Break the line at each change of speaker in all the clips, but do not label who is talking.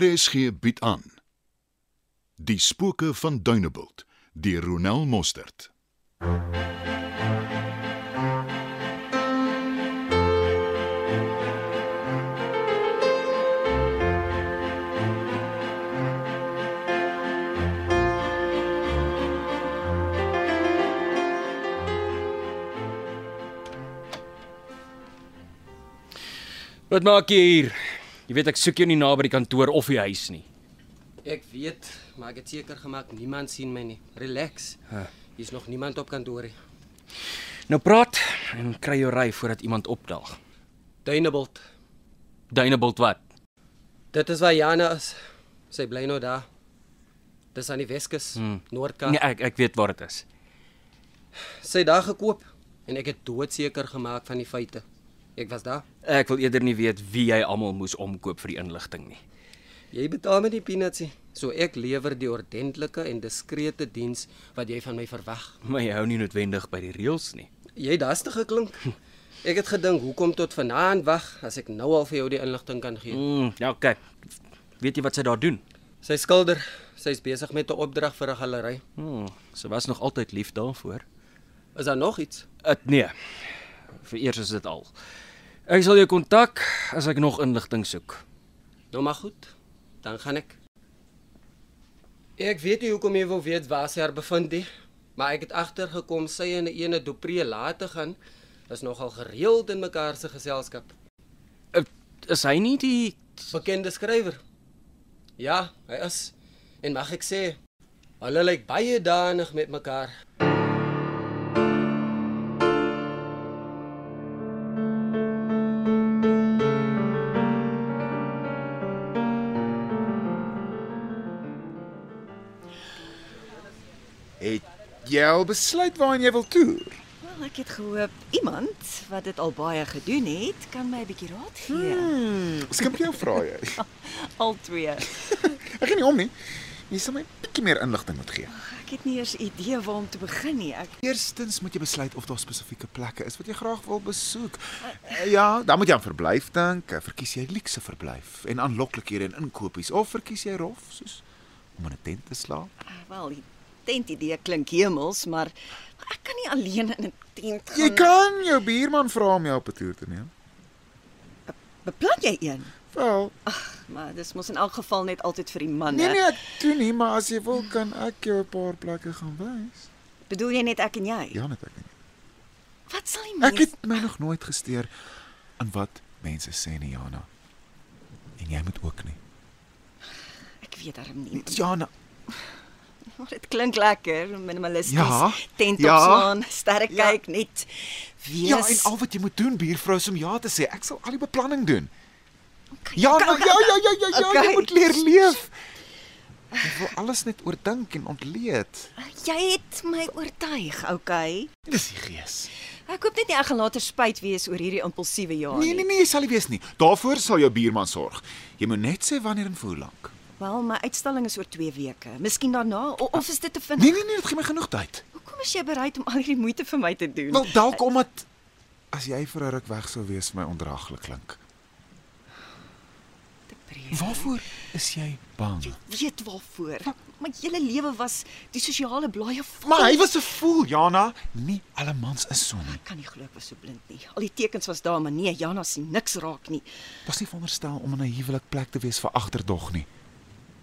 RSG bied aan Die spooke van Dunebuld deur Ronel Mostert.
Wat maak jy hier? Jy weet ek soek jou nie naby die kantoor of die huis nie.
Ek weet, maar ek het seker gemaak niemand sien my nie. Relax. Hier's nog niemand op kantoor nie.
Nou praat en kry jou ry voordat iemand opdaag.
Dunebult.
Dunebult wat?
Dit is waar Jana is. Sy bly nou daar. Dis aan die Weskus, hmm. Noordkaap.
Nee, ek ek weet waar dit is.
Sy het daar gekoop en ek het doodseker gemaak van die feite. Ek was daar.
Ek wil eerder nie weet wie jy almal moes omkoop vir die inligting nie.
Jy betaal met die peanutsie. So ek lewer die ordentlike en diskrete diens wat jy van my verwag.
Maar jy hou nie noodwendig by die reëls nie.
Jy het dastig geklink. Ek het gedink hoekom tot vanaand wag as ek nou al vir jou die inligting kan gee.
Mm, ja, kyk. Weet jy wat sy daar doen?
Sy skilder, sy's besig met 'n opdrag vir 'n galery.
Hmm, sy was nog altyd lief daarvoor.
Is daar nog iets?
Dit nee. Vereers is dit al. Ek sal jou kontak as ek nog inligting soek.
Nou maar goed, dan gaan ek. Ek weet nie hoekom jy wil weet waar sy haar bevind nie, maar ek het agtergekom sy en 'n ene Dupree later gaan is nogal gereeld in mekaar se geselskap.
Uh, Is hy nie die
Bekende skrywer. Ja, hy is. En mag ek sê, hulle lyk baie danig met mekaar.
Het jy al besluit waarheen jy wil toer?
Wel, ek het gehoop iemand wat dit al baie gedoen het, kan my 'n bietjie raad gee.
Hmm, Skimp jou vrae.
Al twee.
Ek gaan nie om nie. Jy sal my 'n bietjie meer inligting moet gee.
Ek het nie eers 'n idee waar om te begin nie. Ek
Eerstens moet jy besluit of daar spesifieke plekke is wat jy graag wil besoek. Eh, Ja, dan moet jy aan verblyf dink. Eh, Verkies jy luukse verblyf en aanloklikhede en inkopies of verkies jy rof soos om in 'n tent te slaap?
ah, wel die tentidee klink hemels, maar maar ek kan nie alleen in 'n tent gaan.
Jy kan jou buurman vra om jou op 'n toer te neem.
Beplan jy een?
Wel,
Maar dis mos in elk geval net altyd vir die manne.
nee nee, ek doen nie, maar as jy wil kan ek jou 'n paar plekke gaan wys.
Bedoel jy net ek en jy?
Ja, net ek. Nie.
Wat sal die
Ek
mense?
het my nog nooit gesteer aan wat mense sê nie, Jana. En jy moet ook nie.
ek weet darm nie.
Jana,
Maar dit klink lekker, minimalisties.
Ja,
tent
ja.
opslaan, sterre
Ja.
kyk, net wees.
ja, en al wat jy moet doen, buurvrou, is om ja te sê. Ek sal al die beplanning doen.
Kan-
Jana,
kan-
ja, ja, ja, ja, ja, okay.
Okay.
jy moet leer leef. Jy wil alles net oordink en ontleed.
Ah, Jy het my oortuig, okay?
Dis die gees.
Ek hoop net nie ek gaan later spyt wees oor hierdie impulsiewe jaar
Nee, nee, nee, jy sal nie wees nie. Daarvoor sal jou buurman sorg. Jy moet net sê wanneer en vir hoe lank.
Wel, my uitstalling is oor 2 weke. Miskien daarna o, of is dit te vinnig?
Nee, nee, nee, dit gee my genoeg tyd.
Hoekom is jy bereid om al hierdie moeite vir my te doen?
Wel dalk omdat as jy vir 'n ruk weg sou wees, vir my ondraaglik klink.
Depree.
Waarvoor is jy bang?
Weet waarvoor? My hele lewe was die sosiale blaaie vol.
Maar hy was 'n fool, Jana. Nie alle mans is so nie.
Ek kan nie glo ek was so blind nie. Al die tekens was daar, maar nee, Jana sien niks raak nie.
Was nie veronderstel om in 'n huwelikplek te wees vir agterdog nie.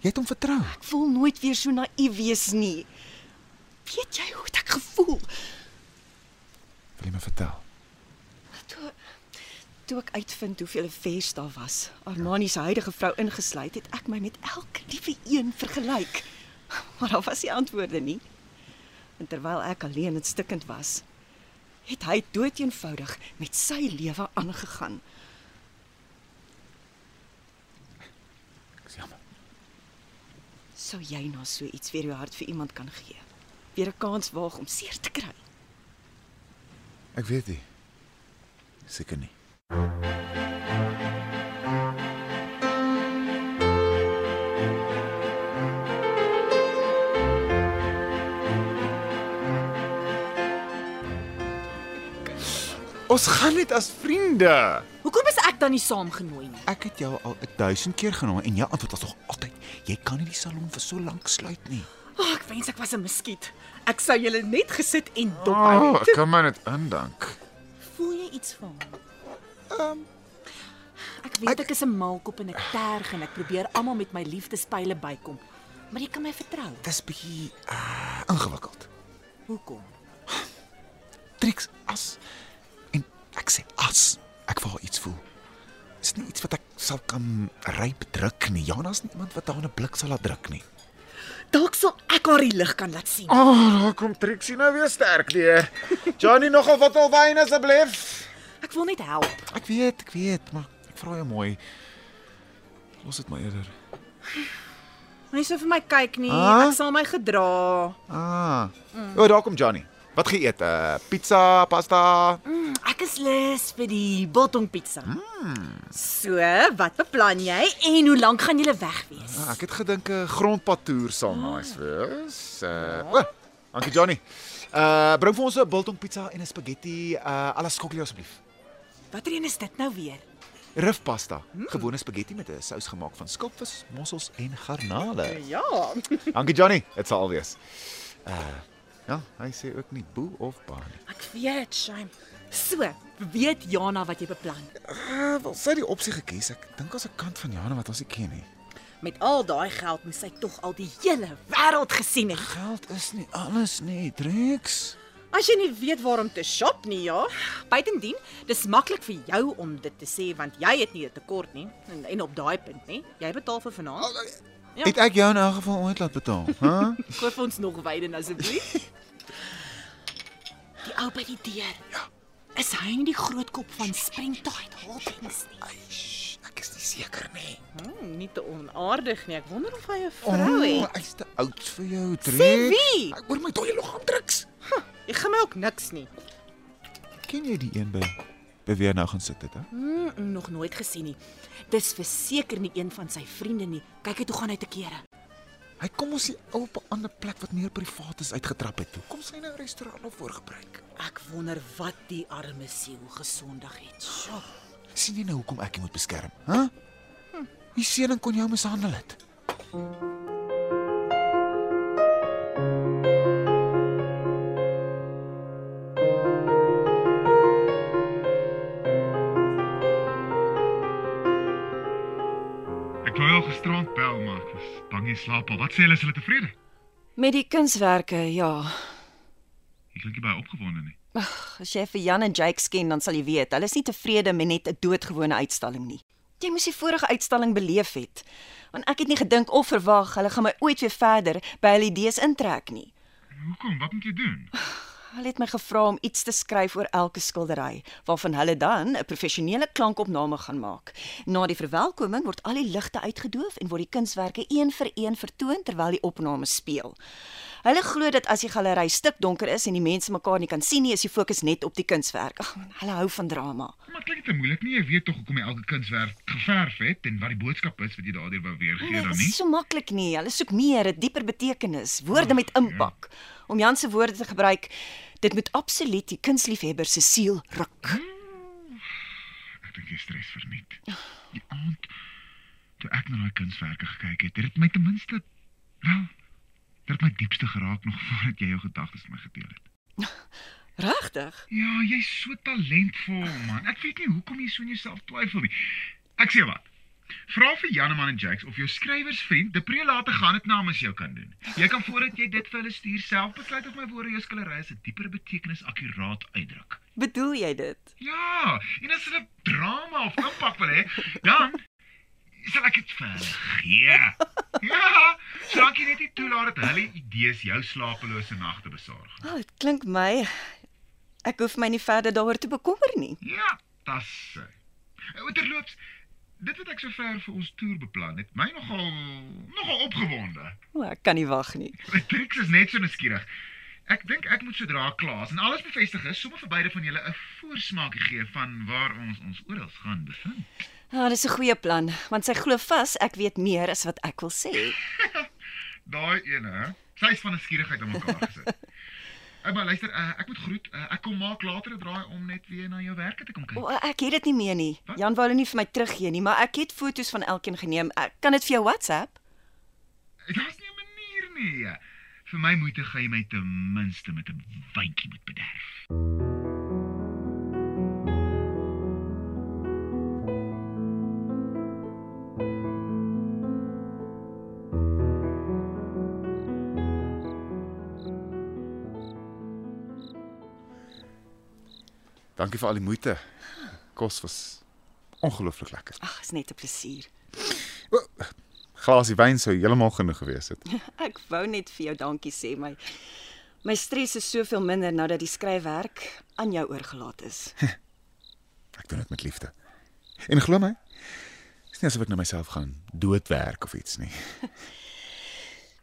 Jy het hom vertrou.
Ek voel nooit weer so naïef wees nie. Weet jy hoe het ek gevoel?
Wil jy my vertel?
Toe toe ek uitvind hoeveel vers daar was, Armani se huidige vrou ingesluit, het ek my met elke liewe een vergelyk. Maar daar was nie antwoorde nie. En terwyl ek alleen en stikkend was, het hy doeteenvoudig met sy lewe aangegaan.
Ek is jammer.
Sou jy na so iets weer jou hart vir iemand kan gee? Weer 'n kans waag om seer te kry?
Ek weet nie. Seker nie. Ons gaan net as vriende.
Hoekom is ek tannie saamgenooi nie.
Ek het jou al 1000 keer genooi en jou antwoord was nog altyd: "Jy kan nie die salon vir so lank sluit nie."
Ag, oh, ek wens ek was 'n muskiet. Ek sou julle net gesit en dop hou.
Oh,
Oh.
ek kan maar net indank.
Voel jy iets van? Ehm um, Ek weet ek, ek is 'n maalkop en ek terg en ek probeer almal met my liefdespyle bykom. Maar jy kan my vertrou.
Dis bietjie uh, ingewikkeld.
Hoekom?
Tricks as en ek sê as ek vir haar iets voel. Is dit nie iets wat ek sal kan ryp druk nie. Jana's nie iemand wat haar in 'n blik sal laat druk nie.
Dalk sal ek haar die lig kan laat sien.
O, oh, daar kom Trixie nou weer sterk neer. Johnny nogal wat al wyn asseblief.
Ek wil net help.
Ek weet, ek weet, maar ek vra jou mooi. Los dit maar eerder.
Moenie so vir my kyk nie.
Ah?
Ek sal my gedra.
Ah. O, oh, daar kom Johnny. Wat geëet? Uh, pizza, pasta.
Mm, ek is lus vir die biltong pizza. Mm. So, wat beplan jy en hoe lank gaan julle weg wees?
Ah, ek het gedink 'n grondpadtoer sal nice wees. Uh, o, dankie Johnny. Uh, bring vir ons 'n biltong pizza en 'n spaghetti uh, alla scoglio asseblief.
Watter een is dit nou weer?
Rif pasta, gewone spaghetti met 'n sous gemaak van skilpvis, mossels en garnale.
Ja.
Dankie Johnny, dit sal al wees. Uh, ja, hy sê ook nie boe of baan nie.
Ek weet, shame. So, weet Jana wat jy beplan.
Uh, wel, sy het die opsie gekies. Ek dink ons 'n kant van Jana wat ons nie ken nie.
Met al daai geld moes sy tog al die hele wêreld gesien het.
Geld is nie alles nie, Drex.
As jy nie weet waar om te shop nie, ja. Buitendien, dis maklik vir jou om dit te sê want jy het nie 'n tekort nie en, en op daai punt, nê? Jy betaal vir vanaand. Ja.
Het ek jou in elk geval ooit laat betaal, hè?
Koop ons nog wyne asseblief. Die ou by die deur. Ja. Is hy nie die grootkop van Springtide Holdings nie?
Eish, ek is nie seker nie.
Hmm, nie te onaardig nie. Ek wonder of hy 'n
hy's te Oh, oud vir jou, Drex.
wie?
Ek hoor my dooie liggaam, Drex.
Jy gaan my ook niks nie.
Ken jy die een by by wie hy nou gaan sit dit, hè?
Mm, mm, nog nooit gesien nie. Dis verseker nie een van sy vriende nie. Kyk hy toe gaan hy te kere.
Hy kom ons hier ou op 'n ander plek wat meer privaat is uitgetrap het. Hoe kom sy nou 'n restaurant of voorgebruik?
Ek wonder wat die arme siel gesondig het. Sjoe.
sien jy nou hoekom ek jou moet beskerm, hè? Die seun kon jou mishandel het.
Ek wou al gisterand bel, maar ek was bang jy slaap al. Wat sê hulle, is hulle tevrede?
Met die kunswerke, ja.
Jy klink nie baie opgewonde nie.
As jy vir Jan en Jake ken, dan sal jy weet, hulle is nie tevrede met net 'n doodgewone uitstalling nie. Jy moes die vorige uitstalling beleef het. Want ek het nie gedink of verwag hulle gaan my ooit weer verder by hulle idees intrek nie.
Hoekom? Wat moet jy doen?
Hulle het my gevra om iets te skryf oor elke skildery waarvan hulle dan 'n professionele klankopname gaan maak. Na die verwelkoming word al die ligte uitgedoof en word die kunswerke een vir een vertoon terwyl die opname speel. Hulle glo dat as die galery stik donker is en die mense mekaar nie kan sien nie, is die fokus net op die kunswerk. Ag, man, hulle hou van drama.
Maar klink dit te moeilik nie. Jy weet tog hoekom jy elke kunswerk geverf het en wat die boodskap is wat jy daardeur wou weergee
Nee,
dan
dit
nie.
is so maklik nie. Hulle soek meer 'n dieper betekenis, woorde met
ja.
impak. Om Jan se woorde te gebruik, dit moet absoluut die kunstliefhebber se siel ruk.
Ek dink jy stres verniet. Die aand toe ek na daai kunswerke gekyk het, het dit my ten minste wel dit het my diepste geraak nog voordat jy jou gedagtes met my gedeel het.
Regtig?
Ja, jy's so talentvol, man. Ek weet nie hoekom jy so in jouself twyfel nie. Ek sê wat. Vra vir Janeman en Jax of jou skrywersvriend De Pre later gaan dit namens jou kan doen. Jy kan voordat jy dit vir hulle stuur self besluit of my woorde jou skillery is 'n dieper betekenis akkuraat uitdruk.
Bedoel jy dit?
Ja, en as hulle drama of impak wil hê, dan sal ek dit vir hulle gee. Ja, sodat jy net nie toelaat dat hulle idees jou slapelose nagte besorg.
Oh, dit klink my ek hoef my nie verder daaroor te bekommer nie.
Ja, dis sy. Outerloops, dit wat ek sover vir ons toer beplan het, my nogal nogal opgewonde.
O, ek kan nie wag nie.
Die triks is net so nuuskierig. Ek dink ek moet sodra klaar is en alles bevestig is, sommer vir beide van julle 'n voorsmaakie gee van waar ons ons oral gaan bevind.
Ah,
Ja, dis 'n goeie plan, want sy glo vas ek weet meer as wat ek wil sê.
Daai ene, hè? Sy's van nuuskierigheid aan mekaar gesit.
Uh, maar luister, uh, ek moet groet. Uh, ek kom maak later 'n draai om net weer na jou werke te kom kyk.
O, ek het dit nie meer nie. Jan wou hulle nie vir my teruggee nie, maar ek het foto's van elkeen geneem. Ek eh, kan dit vir jou WhatsApp.
Daar's nie 'n manier nie. Vir my moeite gaan jy my ten minste met 'n wyntjie moet bederf.
Dankie vir al die moeite. Kos was ongelooflik lekker.
Ag, is net 'n plesier.
Glasie wyn sou heeltemal genoeg gewees het.
Ek wou net vir jou dankie sê, my my stres is soveel minder nadat die skryfwerk aan jou oorgelaat is.
Ek doen dit met liefde. En glo my, is nie asof ek na myself gaan doodwerk of iets nie.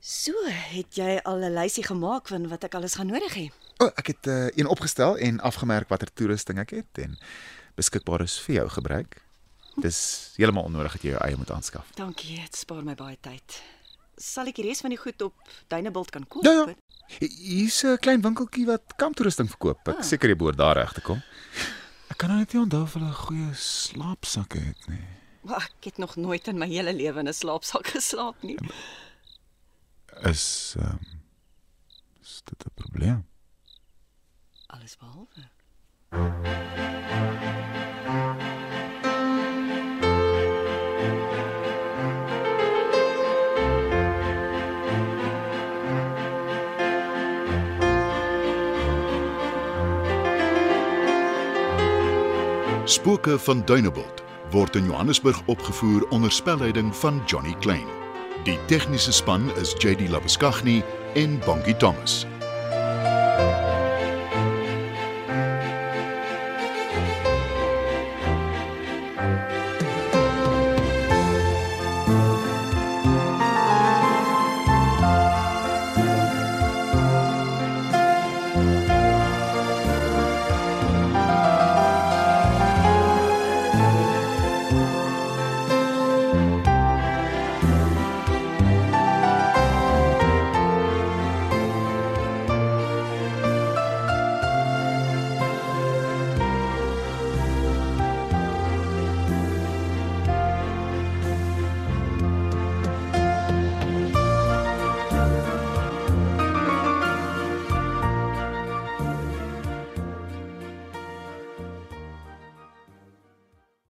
So, het jy al 'n lysie gemaak van wat ek alles gaan nodig hê?
O, ek het uh, een opgestel en afgemerk watter toerusting ek het en beskikbaar is vir jou gebruik. Dis heeltemal onnodig dat jy jou eie moet aanskaf.
Dankie, dit spaar my baie tyd. Sal ek die res van die goed op Duinebult kan koop?
Ja, ja. Hier's 'n klein winkeltjie wat kamptoerusting verkoop. Ek seker jy behoort daar reg te kom. Ah. Ek kan nou net nie onthou of hulle goeie slaapsakke het nie.
Maar ek het nog nooit in my hele lewe in 'n slaapsak geslaap nie.
Is ehm um, is dit 'n probleem?
Alles behalwe.
Spooke van Dunebuld word in Johannesburg opgevoer onder spelleiding van Johnny Klein. Die tegniese span is JD Labuskaghni en Bongie Thomas.